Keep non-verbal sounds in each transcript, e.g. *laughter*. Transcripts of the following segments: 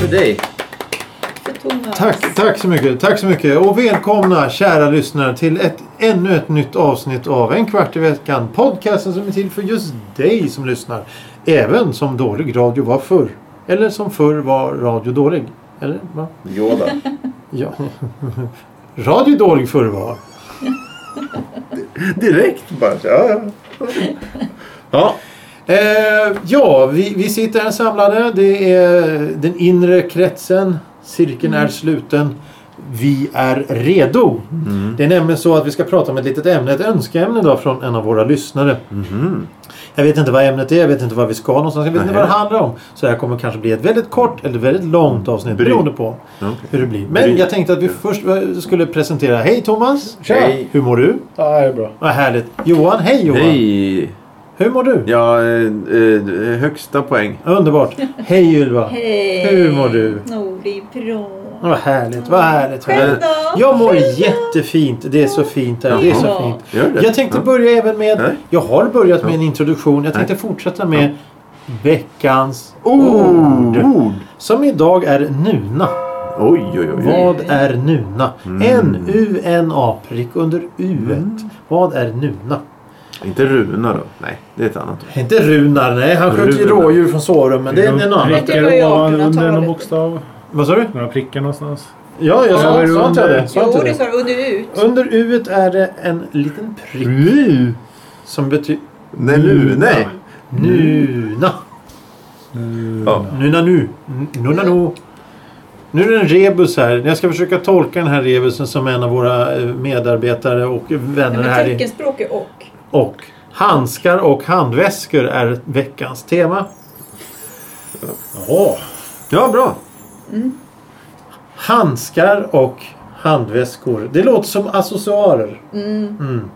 För dig. För Thomas. Tack, tack så mycket. Tack så mycket. Och välkomna kära lyssnare till ett, ännu ett nytt avsnitt av En kvart i veckan. Podcasten som är till för just dig som lyssnar. Även som dålig radio var förr. Eller som förr var radio dålig. Eller? Va? Yoda. Ja. *laughs* radio dålig förr var. *laughs* Direkt bara. Ja, ja. ja. Eh, ja, vi, vi sitter här samlade. Det är den inre kretsen. Cirkeln Mm. är sluten. Vi är redo. Mm. Det är nämligen så att vi ska prata om ett litet ämne, ett önskeämne idag från en av våra lyssnare. Jag vet inte vad ämnet är, jag vet inte vad vi ska någonstans, jag vet inte Mm-hmm. Nej. vad det handlar om. Så det här kommer kanske bli ett väldigt kort eller väldigt långt avsnitt Bry. beroende på Okej. hur det blir. Men Bry. jag tänkte att vi först eh, skulle presentera. Hej Thomas! Tja. Hej. Hur mår du? Ja, det är bra. Vad härligt. Johan, hej Johan! Hej. Hur mår du? Ja, eh, eh, högsta poäng. Underbart. Hej Ylva. Hej. Hur mår du? Jo, det är bra. Vad härligt, vad härligt. vad Själv härligt. då? Jag mår jättefint. Det är så fint här. Det är så Jaha. fint. Gör det? Jag tänkte Ja. börja även med... Nej. Jag har börjat med en introduktion. Jag tänkte fortsätta med veckans Ord. ord. Som idag är nuna. Oh. Oj, oj, oj. oj. Vad är nuna? N-U-N-A prick under u Vad är nuna? Inte Runa då? Nej, det är ett annat ord. Inte Runar, nej. Han sköt ju Runar. rådjur från Sårum. Men det är en annan. Det var ju Prickar ovan 1800-talet. under någon bokstav. Vad sa du? Några prickar någonstans. Ja, jag sa Över sa inte jag det? Sa inte Jo, jag det det? sa du. Och du ut. Under u är det en liten prick som betyder Nej, nu, nej. nuna. Ja. Nuna nu. N- Nuna nu. Nu är det en rebus här. Jag ska försöka tolka den här rebusen som en av våra eh, medarbetare och vänner Men här i. teckenspråk är och. Och handskar och handväskor är veckans tema. Ja. Ja, bra. Handskar och handväskor. Det låter som accessoarer. Mm.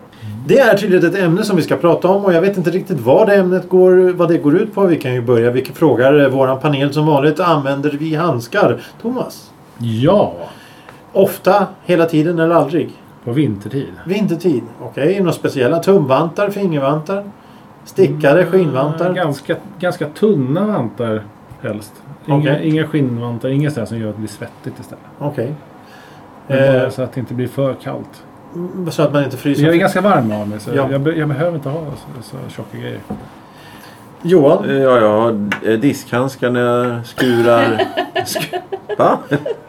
Det är tydligen ett ämne som vi ska prata om och jag vet inte riktigt vad det ämnet går, vad det går ut på. Vi kan ju börja. Vi frågar eh, våran panel som vanligt. Använder vi handskar? Thomas? Ja, Ofta, hela tiden eller aldrig? på vintertid. Vintertid? Okej, några speciella? Tumvantar, fingervantar? Stickade, Eh, skinnvantar? Ganska, ganska tunna vantar helst. Inga, Okej. inga skinnvantar, inga sådana som gör att det blir svettigt istället. Okej. Men Eh, Bara så att det inte blir för kallt. Så att man inte fryser. Jag är ganska varm av mig så Ja. jag, be, jag behöver inte ha så, så tjocka grejer. Johan? Eh, Ja, jag har eh, diskhandskar när jag skurar. *laughs* Sk- Va?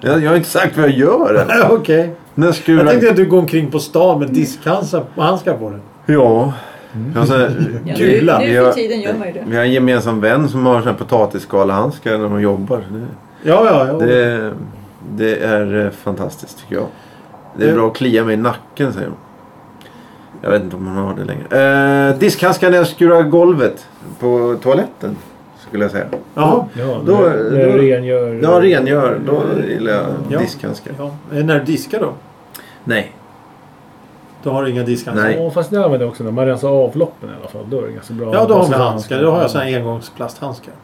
Jag, jag har inte sagt vad jag gör än. *laughs* Eh. Okej. När jag skurar... Jag tänkte att du går omkring på stan med diskhandskar på dig. Ja. Jag har sån här- Ja, nu, Kula. nu Vi har- för tiden gör man ju det. Vi har en gemensam vän som har såna här potatisskalehandskar när man jobbar. Det, Ja, ja, ja. det, det är eh, fantastiskt tycker jag. Det är bra att klia mig i nacken säger hon. Jag vet inte om hon har det längre. Eh, diskhandskar när jag skurar golvet på toaletten. Skulle jag säga. Jaha. Ja, Då- när, när då- du rengör. Ja, rengör. Då gillar jag Ja. diskhandskar. Ja. Eh, När du diskar då? Nej. Då har du inga diskhandskar? Nej. Ja, fast det använder jag också när man rensar avloppen i alla fall. Då är det ganska bra. Ja, då har Fast man handskar. Då har jag såna här engångsplasthandskar.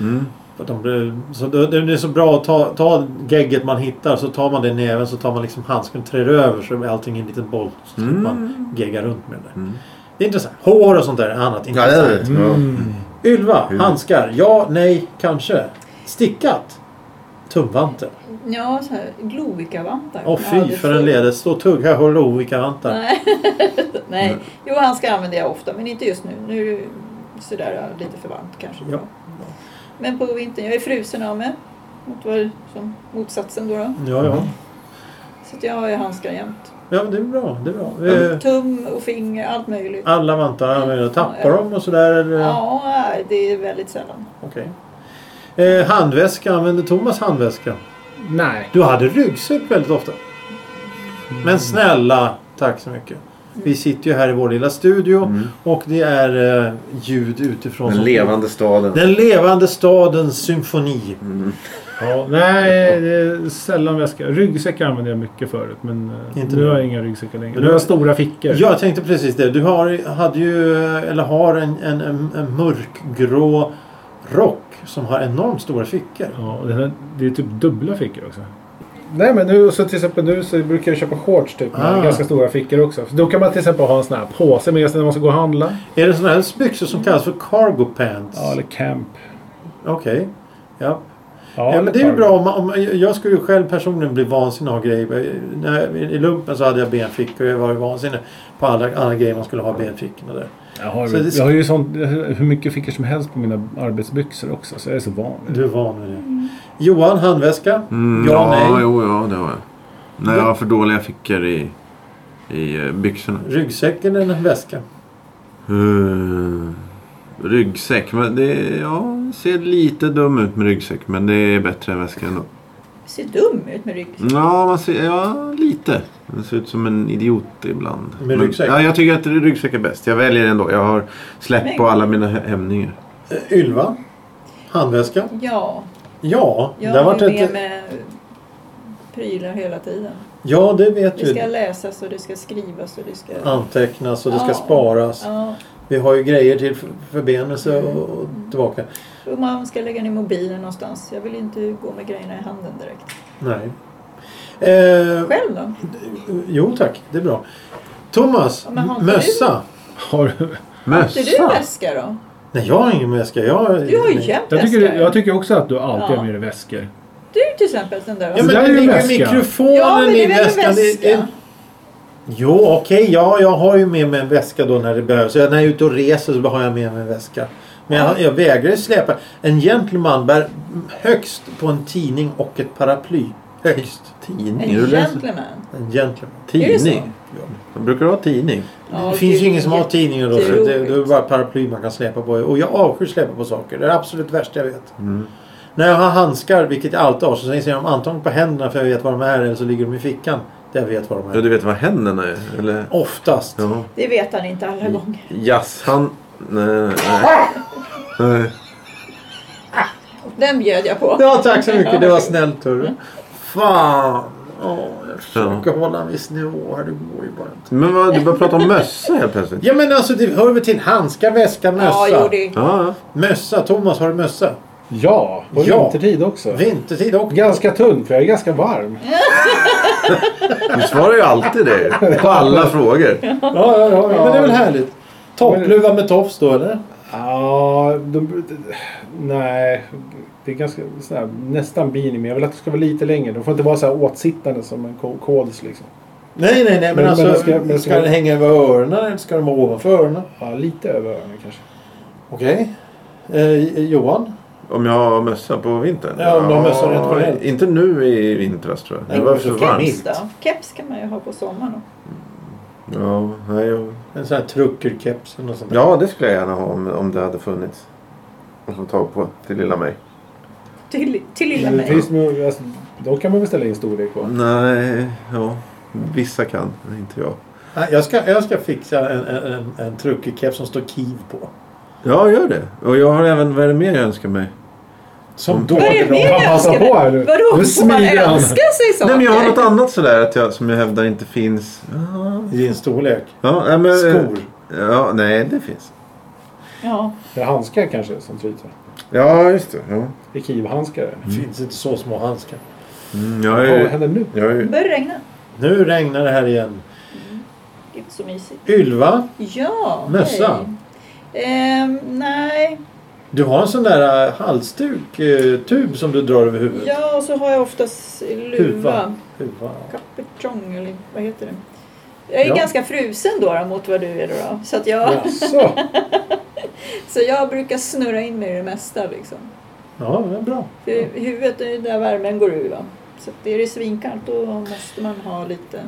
Mm. För att de blir, så det, det är så bra att ta, ta gegget man hittar så tar man det i näven så tar man liksom handsken och trär över så är allting i en liten boll. Så mm. Mm. man geggar runt med det. Mm. Det är intressant. Hår och sånt där är annat Ja, det intressant. är det. Ja. Mm. Ylva, Hur? handskar. Ja, nej, kanske. Stickat. Tumvanter. Ja, så här Glowika-vantar. Åh Ja, fy det för får- en ledes. Stå och tugga håll och olika vantar. Nej. *laughs* Nej. Mm. Jo, handskar använder jag ofta, men inte just nu. Nu är det sådär äh, lite för varmt kanske. Ja. Men på vintern, jag är frusen av mig. Mot vad som motsatsen då. då. Ja, Mm. ja. Så att jag har ju handskar jämt. Ja, men det är bra. Det är bra. Eh, Tum och finger, allt möjligt. Alla vantar använder Tappar Ja, ja. dem och sådär? Eller? Ja, nej, det är väldigt sällan. Okej. Eh, handväska. Använder Thomas handväska? Nej. Du hade ryggsäck väldigt ofta. Mm. Men snälla, tack så mycket. Vi sitter ju här i vår lilla studio och det är eh, ljud utifrån. Mm. Den som- levande staden. Den levande stadens symfoni. Mm. Ja, nej, det är sällan väska. Ryggsäckar använde jag mycket förut men eh, Inte nu nu. har jag inga ryggsäckar längre. Men Nu du- har jag stora fickor. Jag tänkte precis det. Du har, hade ju, eh, eller har en, en, en, en mörkgrå rock som har enormt stora fickor. Ja, och det, här, det är typ dubbla fickor också. Nej men nu, så till exempel nu så brukar jag köpa shorts typ med Ah. ganska stora fickor också. Så då kan man till exempel ha en sån här påse med sig när man ska gå och handla. Är det sådana här byxor som kallas för cargo pants? Ja, eller camp. Okej. Ja. Ja, Ja, men det är ju cargo. bra om, man- om Jag skulle ju själv personligen bli vansinnig av grejer. När, jag- I lumpen så hade jag benfickor och jag var ju vansinnig på alla, alla grejer man skulle ha i benfickorna där. Jag har, Så det- jag har ju sånt, hur mycket fickor som helst på mina arbetsbyxor också. Så jag är så van. vid det. Du är van vid det. Johan, handväska? Mm, ja, nej. jo, ja, det har jag. Nej, jag har för dåliga fickor i, i eh, byxorna. Ryggsäck eller en väska? Eh, ryggsäck. Men det ja, ser lite dum ut med ryggsäck. Men det är bättre än väska ändå. Ser dum ut med ryggsäck. Ja, man ser, ja lite. Det ser ut som en idiot ibland. Med Men- ryggsäck? Ja, jag tycker att ryggsäck är bäst. Jag väljer ändå. Jag har släpp Men- på alla mina hä- hämningar. Eh, Ylva? Handväska? Ja, Ja, jag det har har varit ju med ett... med prylar hela tiden. Ja, det vet Det ska vi. läsas och det ska skrivas och det ska... Antecknas och det ska Ja. sparas. Ja, Vi har ju grejer till för- förbindelse och och tillbaka. och man ska lägga ner mobilen någonstans. Jag vill inte gå med grejerna i handen direkt. Nej. Eh, Själv då? jo tack, det är bra. Thomas, Ja, men har inte mössa. Har du? Inte du Mössa! väska då? Nej, jag har ingen väska. Jag, Du har ju nej. jämt Jag tycker, väska. jag tycker också att du alltid Ja. har med dig väskor. Du till exempel den där. Ja, men Det där det är ju ligger väska. ju mikrofonen Ja, men det i är väl en väskan. Det är- väska? Jo, okej. ja, jag har ju med mig en väska då när det behövs. Jag- När jag är ute och reser så har jag med mig en väska. Men jag, jag vägrar ju släpa. En gentleman bär högst på en tidning och ett paraply. Högst. En Tidning? Du läser gentleman. En gentleman. Är det så? tidning? De brukar ha tidning. Ja, det finns ju gud, ingen som har tidningar då. Så det, jätteroligt. det är bara paraply man kan släpa på. Och jag avskyr släpa på saker. Det är det absolut värsta jag vet. Mm. När jag har handskar, vilket jag alltid har, så säger jag dem antingen på händerna för jag vet var de är eller så ligger de i fickan. Där jag vet var de är. Ja, du vet vad händerna är? Eller? Oftast. Ja. Det vet han inte Mm. alla gånger. Jazz. Han... Nej, nej, nej. nej. Den bjöd jag på. Ja, tack så mycket. Det var snällt Mm. hörru. Fan. Åh, jag försöker Ja. hålla en viss nivå här. Det går ju bara inte. Men vad, du börjar prata om mössa helt plötsligt. Ja men alltså det hör väl till handskar, väska, mössa. Ja, jo, det är... Ja, ja. Mössa. Thomas, har du mössa? Ja, på vintertid också. Vintertid och... Ganska tunn för jag är ganska varm. Du svarar ju alltid det. På alla frågor. Ja, ja, ja. Men det är väl härligt. Toppluva med tofs då eller? Ja, de, de, nej. Det är ganska, så här, nästan minimi. Jag vill att det ska vara lite längre. De får inte vara så här åtsittande som en ko- kåls. Liksom. Nej, nej, nej. Men, Men- alltså, men ska, ska- men ska- den hänga över öronen eller ska den vara ovanför öronen? Ja, lite över öronen kanske. Okej. Eh, Johan? Om jag har mössa på vintern? Ja, om du har mössa rent generellt. Inte nu i vintras tror jag. Nej, Det var men för så varmt. Keps då? Keps kan man ju ha på sommaren. Ja, nej, jag- En sån här truckerkeps eller något sånt där. ja, det skulle jag gärna ha om, om det hade funnits. Att få tag på till lilla mig. Till, till lilla Mm, Men det mig. finns nog, alltså, då kan man väl ställa in storlek på. Nej, ja. Vissa kan, men inte jag. Nej, Jag ska, jag ska fixa en, en, en, en truckerkeps som står Kiev på. Ja, gör det. Och jag har även, vad är det mer jag önskar mig? Som Vad är det mer Han jag Alltså, passar önskar på här dig? nu. Vadå? Nu Får man smider han. önska sig saker? Nej, men jag har något annat sådär att jag, som jag hävdar inte finns. I din storlek. Ja, nej, men, Skor. Ja, nej, det finns. Ja. Det är handskar kanske som tryter. Ja, just det. Ja. Det är kivhandskar. Det finns inte så små handskar. Mm, jag är Vad ju... händer nu? Jag är ju... Börjar det regna? Nu regnar det här igen. Gud så mysigt. Ylva, Ja. Mössa? hej. Ehm, nej. du har en sån där eh, halsduk, eh, tub som du drar över huvudet. Ja, och så har jag oftast luva. Huva. Huva. Capuchong eller vad heter det? Jag är Ja. ganska frusen då, då mot vad du är då. Så, att jag, Jaså? *laughs* så jag brukar snurra in mig i det mesta liksom. Ja, det är bra. För huvudet är ju där värmen går ur va. Så att är det svinkallt då måste man ha lite...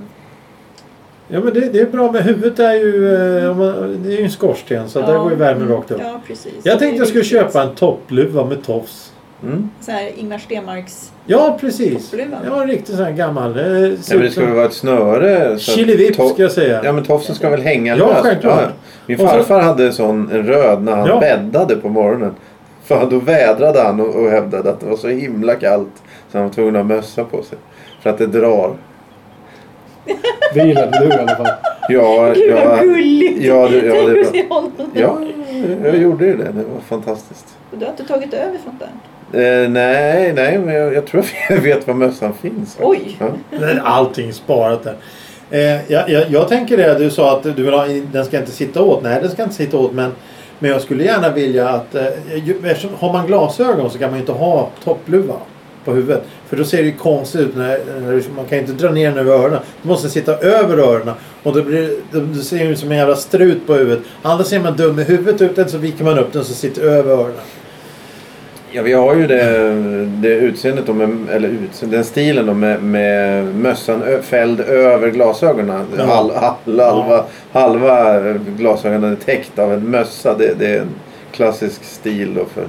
Ja, men det, det är bra med huvudet är ju, eh, om man- det är ju en skorsten så där går ju värmen rakt upp. Ja, precis. Jag tänkte Det är jag skulle viktigt. köpa en toppluva med tofs. Mm. Så här Ingmar Stenmarks... Ja, precis. Toppluva. Ja, en riktig sån här gammal. eh, ser Nej, men det ut ska som- väl vara ett snöre? så att Chilivipp to- ska jag säga. Ja, men tofsen ska väl hänga Ja, löst? självklart. Min Och så- farfar hade en sån en röd när han Ja. bäddade på morgonen. För då vädrade han och, och hävdade att det var så himla kallt så han var tvungen att ha mössa på sig. För att det drar. Det gillade du i alla fall. *laughs* Ja, Gud vad ja, gulligt! ja, det- ja, *laughs* Tänk det är att se honom. ja, jag gjorde ju det. Det var fantastiskt. Du har inte tagit över sånt där? Eh, nej, nej, men jag, jag tror att jag *laughs* vet var mössan finns. Oj. Ja. Nej, Allting sparat där. Eh, jag, jag, jag tänker det, du sa att du vill ha, den ska inte sitta åt. Nej, den ska inte sitta åt. Men, men jag skulle gärna vilja att... Eh, ju- eftersom, har man glasögon så kan man ju inte ha toppluva på huvudet. För då ser det ju konstigt ut. När, när, man kan ju inte dra ner den över öronen. Du måste sitta över öronen. Och då blir det- då ser det ut som en jävla strut på huvudet. Annars ser man dum i huvudet ut den så viker man upp den så sitter över öronen. Ja, vi har ju det, det utseendet, då med, eller utseendet, den stilen då med, med mössan ö, fälld över glasögonen. Ja. Hal, hal, halva, halva eh, glasögonen är täckt av en mössa. Det, det är en klassisk stil då för...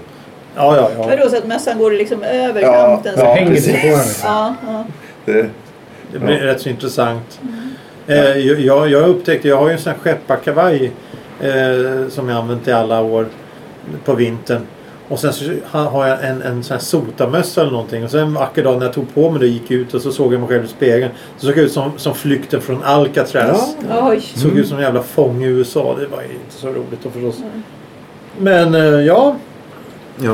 Ja, ja, ja. Vadå, så att mössan går liksom över Ja, kanten? så- ja, hänger precis. lite på den. ja, ja. Det, Det blir Ja. Mm. rätt så intressant. Eh, jag, jag upptäckte, jag har ju en sån här skepparkavaj eh, som jag använt i alla år på vintern. Och sen så ha- har jag en, en sån här sotamössa eller någonting. Och sen en vacker dag när jag tog på mig det och gick ut och så såg jag mig själv i spegeln. Så såg jag ut som, som flykten från Alcatraz. Ja. Oj. Såg ut som en jävla fång i USA. Det var ju inte så roligt då förstås. Men eh, ja,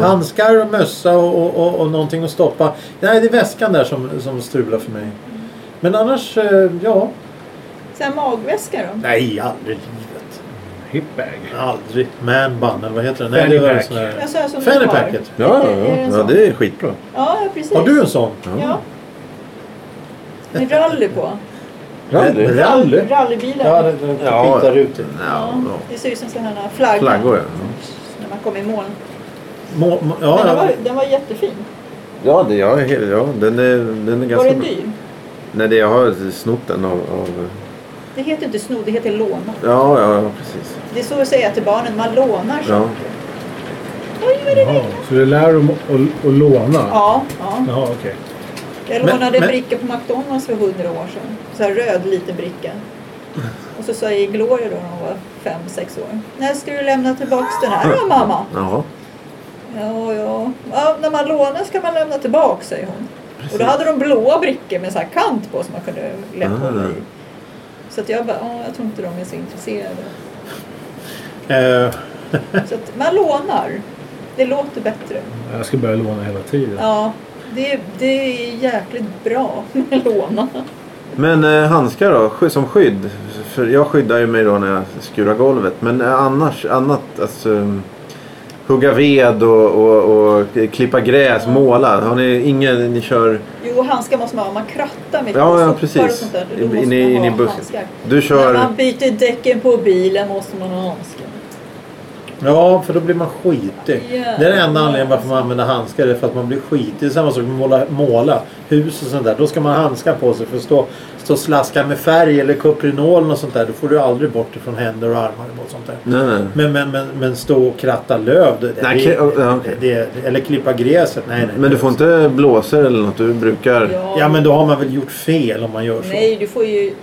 handskar och mössa och, och, och, och någonting att stoppa. Nej, det är väskan där som, som strular för mig. Men annars, eh, ja. Sen magväska då? Nej, aldrig i livet. Hipbag. Aldrig. Man-bun, eller vad heter det? Nej, det Fanny var en pack. sån här... Alltså, som du Fanny har. packet. Ja, Är det ja, en ja, sån? det är skitbra. Ja, precis. Har du en sån? Ja. Med rally på. Rally? Rally? Rallybilar. Ja, den den Ja. kvittar ut. det. Ja, ja. Det ser ut som sådana här flaggor. Flaggor, ja. När man kommer i moln. Må, må, Men den ja, var, den var jättefin. Ja, det, ja, he- ja den, är, den är Var ganska den bra. dyr? Nej, det, jag har snott den av... av Det heter inte sno, det heter låna. ja, ja, ja, precis. Det är så att säga till barnen, man lånar Ja. saker. Oj, vad det Jaha, så det lär dem att, att låna? Ja, ja. Jaha, okej. Jag Men- lånade en men- bricka på McDonalds för hundra år sedan. Så här röd liten bricka. Och så sa jag i Gloria då när hon var fem, sex år. När ska du lämna tillbaks den här då mamma? Jaha. Ja, ja. ja när man lånar ska man lämna tillbaka, säger hon. Och då hade de blåa brickor med så här kant på som man kunde lätt hålla i. Ah. Så att jag bara, ja, jag tror inte de är så intresserade. ja. Eh, Så att man lånar. Det låter bättre. Jag ska börja låna hela tiden. Ja, det, det är jäkligt bra med låna. Men eh, handskar då, sky- som skydd? För jag skyddar ju mig då när jag skurar golvet. Men eh, annars, annat, alltså um, hugga ved och, och, och klippa gräs, måla. Har ni ingen, ni kör... Jo, handskar måste man ha. Man krattar mycket Ja, och ja, soppar och precis. sånt där. Då In- in måste man i- in i ha busken. handskar. Du När kör... man byter däcken på bilen måste man ha handskar. Ja, för då blir man skitig. Ja. Det är den enda anledningen varför man använder handskar. Det är för att man blir skitig. Det är samma sak med måla, måla hus och sånt där. Då ska man ha handskar på sig. För att stå, stå och slaska med färg eller kuprinol och sånt där. Då får du aldrig bort det från händer och armar och sånt där. Nej, nej. Men, men, men, men stå och kratta löv. Det, Nej, det, kri- ja, okej. det, det, eller klippa gräset. Nej, nej. Men du får inte blåsor eller något? Du brukar... Ja, men då har man väl gjort fel om man gör så. Nej, du får ju,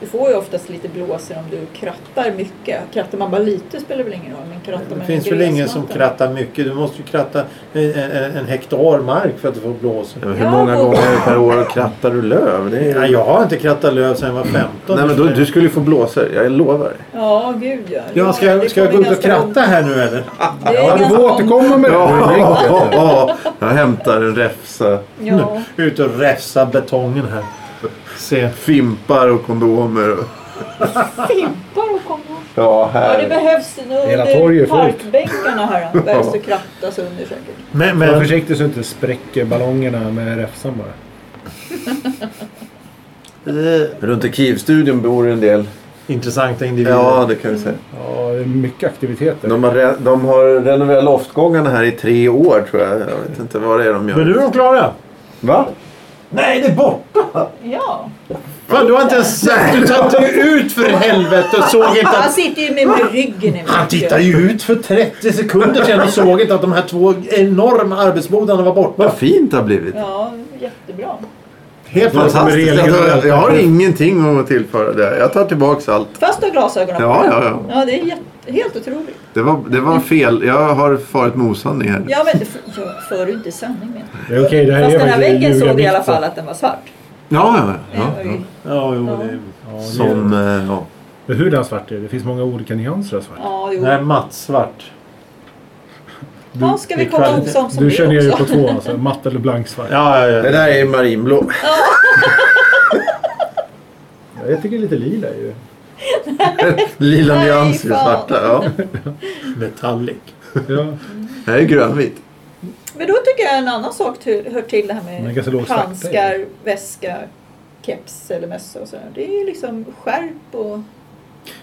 du får ju oftast lite blåsor om du krattar mycket. Krattar man bara lite spelar väl ingen roll. Men krattar man Det i finns väl ingen som gräsmattan- krattar mycket. Du måste ju kratta en, en, en hektar mark för att du får blåsor. Hur Ja, många och- gånger per år krattar du löv? Det är... Nej, jag har inte krattat löv sedan jag var 15. Nej men då, du skulle ju få blåsor, jag lovar. Ja, gud ja. Ja, ska, Det jag, ska jag gå kommer ut och ganska långt. kratta här nu eller? Det är Ja, du ganska får långt. återkomma med det. Ja, ja, ja. jag hämtar en räfsa. Ja. Ut och räfsa betongen här. Se. Fimpar och kondomer. och- Fimpar och komma. Ja, Ja, det här. behövs nu Hela torget under är fullt. parkbänkarna här. *laughs* då. Behövs det krattas under säkert. Men, Var men, försiktig så du inte spräcker ballongerna med räfsan bara. eh, Runt i Kivstudion bor en del. intressanta individer. Ja, det kan vi säga. Ja, det är mycket aktiviteter. Mm. De har, re- de har renoverat loftgångarna här i tre år tror jag. Jag vet inte vad det är de gör. Men nu är de klara. Va? Nej, det är borta! Ja. Fan, du har inte ens sett. Du satte ju ut för helvete och såg inte Han att... sitter ju med, med ryggen i Han mörkret. tittade ju ut för 30 sekunder sedan och såg inte att de här två enorma arbetsbodarna var borta. Vad fint det har blivit. Ja, jättebra. Helt Fantastiskt. plötsligt. Jag, tar- jag har ingenting att tillföra där. Jag tar tillbaks allt. Fast du har glasögonen Ja, på. ja, ja. Ja, det är jätte, helt otroligt. Det var, det var fel. Jag har farit med osanning här. Ja, men det f- jag för du inte sanning med. Det är okej, det här Fast är den här faktiskt väggen såg i alla ljugarbikter. fall att den var svart. Ja, ja, ja. Det ja, var ja. ju- Ja, jo, det... Ja, det är- Som, eh, ja. Hur den svart är, det finns många olika nyanser av svart. Ja, jo. Nej, matt svart. ja, ska vi det är komma kvalitet. osams om Du kör ner det dig också? på två alltså, matt eller blank svart. Ja, ja, Det ja. där är marinblå. *laughs* Jag tycker lite lila är ju... Lila Nej, nyans i det fan. svarta. Ja. Metallic. Ja, Det här är grönvitt. *laughs* Men då tycker jag en annan sak till, hör till det här Den är med ganska låg svart. handskar, väska, keps eller mössa och sådär. Det är ju liksom skärp och,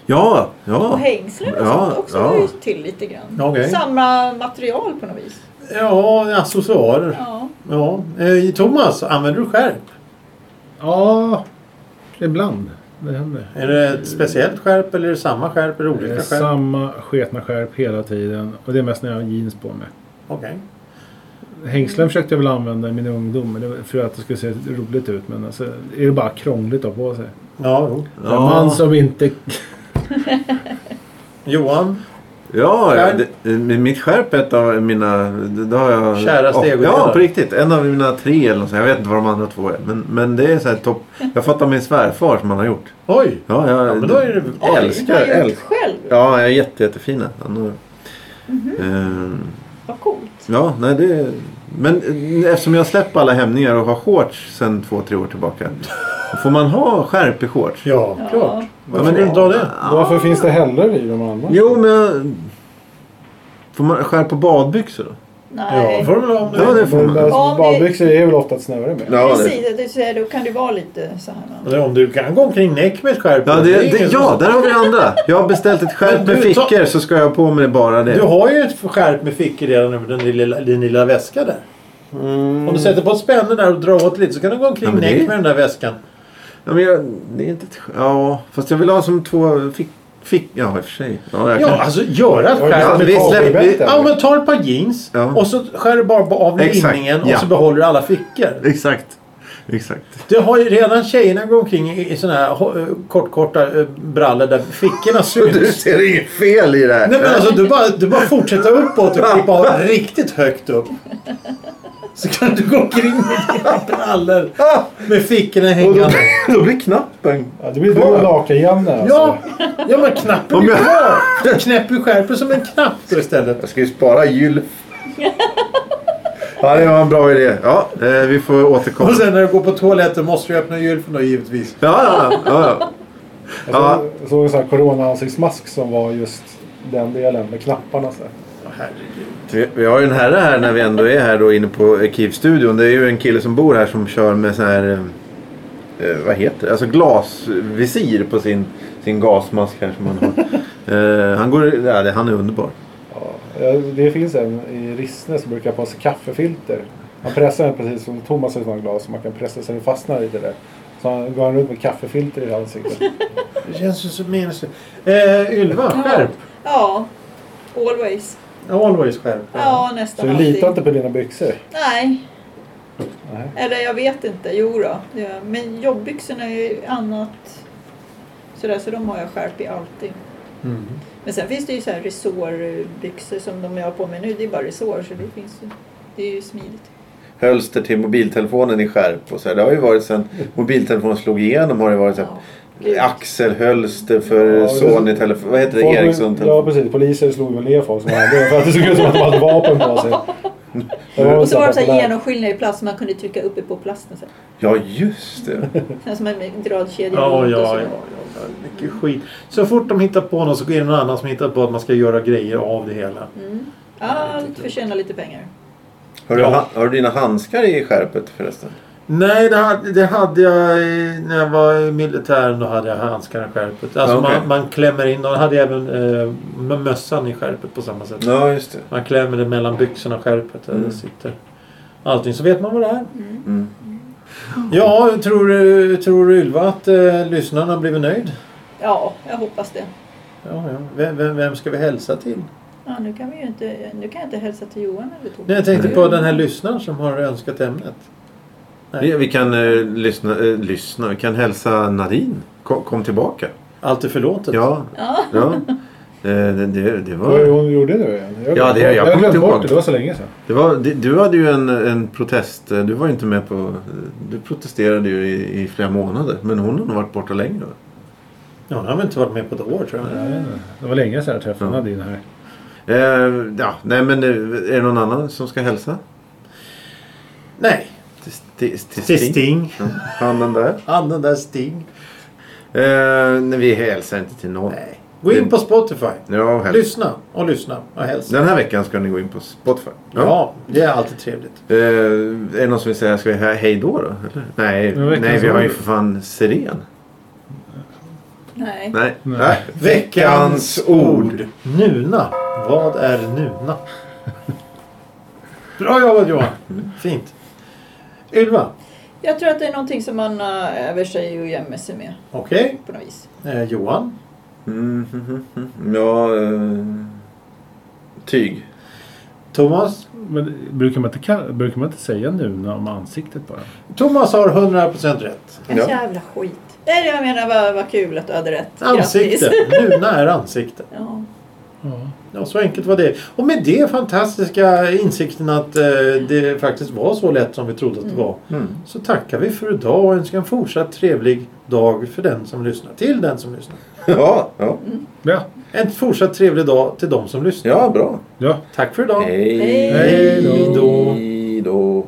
Ja, och ja. hängslen och Ja, sånt också ja. hör ju till lite grann. Okej. Samma material på något vis. Ja, accessoarer. Ja. Ja. Eh, Thomas, använder du skärp? Ja, ibland. Det händer. Är det ett speciellt skärp eller är det samma skärp? Är det Det är olika skärp? samma sketna skärp hela tiden. Och det är mest när jag har jeans på mig. Okej. Hängslen försökte jag väl använda i min ungdom men det var för att det skulle se roligt ut. Men alltså, det är ju bara krångligt att ha på sig. Ja, jo. En man Ja, som inte... Johan? ja ja, Skärp. det, eh, mitt skärp är ett av mina... Det, det har jag, Kära Ja, stegodelar. Ja, på riktigt. En av mina tre eller något sånt. Jag vet inte vad de andra två är. Men, men det är så här topp. Jag fattar min svärfar som han har gjort. Oj! Ja, jag, Ja, men då är det... Oj, Älskar, det har jag gjort älskar. själv. Ja, jag är jätte, jättefina. Han har, Mhm. Ehm, Vad coolt. ja, nej det... Men eh, eftersom jag släpper alla hämningar och har shorts sedan två, tre år tillbaka. Får man ha skärp i shorts? Ja, Ja. klart. men Varför men det- inte ha det? Varför finns det heller i de andra? Jo, men... jag- Får man skär på badbyxor då? Nej. Ja, får de väl ha om du Ja, det vill. får man. Alltså, Om det- Badbyxor är väl ofta ett snöre med. Precis, det. du säger, då kan det vara lite så här. va? Eller om du kan gå omkring näck med ett skärp. Ja, Det det, är ingen det, som- ja, där har vi det andra. Jag har beställt ett skärp Men du, med ta- fickor så ska jag ha på mig bara Du det. har ju ett skärp med fickor redan över den lilla, din lilla väska där. Mm. Om du sätter på ett spänne där och drar åt lite så kan du gå omkring Ja, men det- näck med den där väskan. Ja, men jag, det är inte ett, sk- ja, fast jag vill ha som två fick, fick, ja i och för sig. Ja, jag Ja, kan. alltså göra ett Ja, Ja, skärp med vi fickor. släpper- vi- Ja, men ta ett par jeans Ja. och så skär du bara av Exakt, linningen och ja. så behåller du alla fickor. Exakt. Exakt. Det har ju redan tjejerna går omkring i, i såna här ho- eh, kortkorta eh, brallor där fickorna Du syns. ser inget fel i det här. Nej men alltså du bara, du bara fortsätter uppåt och typ klippa av riktigt högt upp. Så kan du gå omkring med dina brallor Ah, med fickorna och då, hängande. *laughs* då blir knappen... Ja, det blir du och Lakan-Janne alltså. Ja, ja men knappen är Om jag- kvar. Du knäpper ju skärpet som en knapp då istället. Jag ska ju spara gylf. Ja, det var en bra idé. Ja, eh, vi får återkomma. Och sen när du går på toaletten måste du öppna gylfen då givetvis. Ja, ja, ja. ja. Alltså, Jag såg- Jag såg en sån här corona-ansiktsmask som var just den delen med knapparna. Så här. Vi- Vi har ju en herre här när vi ändå är här då inne på eh, Kivstudion. Det är ju en kille som bor här som kör med sån här... eh, eh, Vad heter det? Alltså glasvisir på sin, sin gasmask här som han har. Eh, han, går, ja, det, han är underbar. Ja, jag- det finns en i Rissne som brukar ha på sig kaffefilter. Man pressar den precis som Thomas har sådana glas så man kan pressa så den fastnar lite där. Så han går han runt med kaffefilter i ansiktet. Det känns ju så meningslöst. Eh, Ylva, skärp. Ja, always. Always skärp. Ja, Så nästan du alltid. litar inte på dina byxor? Nej, Nej. eller jag vet inte. Jo då. det gör jag. Men jobbbyxorna är ju annat. Sådär, så de har jag skärp i alltid. Mm. Men sen finns det ju så här resårbyxor som de jag har på mig nu. Det är bara resår så det finns ju. Det är ju smidigt. Hölster till mobiltelefonen i skärp och så här. Det har ju varit sen mobiltelefonen slog igenom har det varit så här, Ja, gud. axelhölster för Ja, Sony-telefon. Vad heter det? Folk- Ja Ericsson-telefon. precis, poliser slog väl ner folk som hade *laughs* det för att det såg ut som att de hade vapen på sig. Det väl Och så var de så här populärt. genomskinliga i plast som man kunde trycka uppe på plasten. Så här. Ja, just det. Sen som en dragkedja Ja, runt och ja, så. ja, ja. Mycket skit. Så fort de hittar på något så är det någon annan som hittar på att man ska göra grejer av det hela. Mm. Allt för att tjäna lite pengar. Har du, Ja. ha- har du dina handskar i skärpet förresten? Nej, det hade, det hade jag i- när jag var i militären. Då hade jag handskarna i skärpet. Alltså Ja, okej. man, man klämmer in. Då hade jag även eh, med mössan i skärpet på samma sätt. Ja, just det. Man klämmer det mellan byxorna och skärpet. Där Mm. det sitter. Allting så vet man vad det är. Mm. Ja, tror, du- tror du Ylva att eh, lyssnarna har blivit nöjd? Ja, jag hoppas det. Ja, ja. Vem, vem, vem ska vi hälsa till? Ja, nu kan vi ju inte, nu kan jag inte hälsa till Johan eller Tobbe. Nej, jag tänkte Mm. på den här lyssnaren som har önskat ämnet. Vi, vi kan eh, lyssna, eh, lyssna. Vi kan hälsa Nadine. Kom, kom tillbaka. Allt är förlåtet. Ja. Ja. ja. Eh, det, det, det Vad var det var... hon gjorde nu igen? Jag, Ja, det- jag jag kommer glömde inte bort ihåg. det, det var så länge sedan. Det var det, du hade ju en, en protest. eh, Du var ju inte med på... eh, Du protesterade ju i, i flera månader. Men hon har nog varit borta längre. Ja, han har väl inte varit med på ett år tror jag. Det var länge sedan jag träffade Ja. Nadine här. Eh, ja, nej men eh, är det någon annan som ska hälsa? Nej. Till, till, till Till Sting? Sting. Ja, Han den där. Han den där Sting. Eh, nej, vi hälsar inte till någon. Nej. Gå in på Spotify. Ja, helst. Lyssna och lyssna och hälsa. Den här veckan ska ni gå in på Spotify. Ja, det är alltid trevligt. Eh, är det någon som vill säga ska vi hä- hej då då? Eller? Nej, Men veckans nej, vi har ju ord. för fan siren. Nej. Nej. Nej. Veckans ord. Nuna. Vad är Nuna? Bra jobbat Johan. Fint. Ylva. Jag tror att det är någonting som man har över sig och gömmer sig med Okej. på något vis. Eh, Johan. Mm, mm, mm, mm. Ja, eh, tyg. Thomas. Men brukar man, inte, kalla- brukar man inte säga nu om ansiktet bara? Thomas har 100% rätt. En Ja. jävla skit. Nej, det jag menar vad vad kul att du hade rätt. Ansikte. *laughs* Grattis. Nuna är ansikte. Ja. Ja. Ja, så enkelt var det. Och med det fantastiska insikten att eh, det faktiskt var så lätt som vi trodde att det var. Mm. Så tackar vi för idag och önskar en fortsatt trevlig dag för den som lyssnar. Till den som lyssnar. *laughs* Ja, ja, Ja. En fortsatt trevlig dag till de som lyssnar. ja, bra. ja. Tack för idag. Hej. Hej. Hej då. Hej då.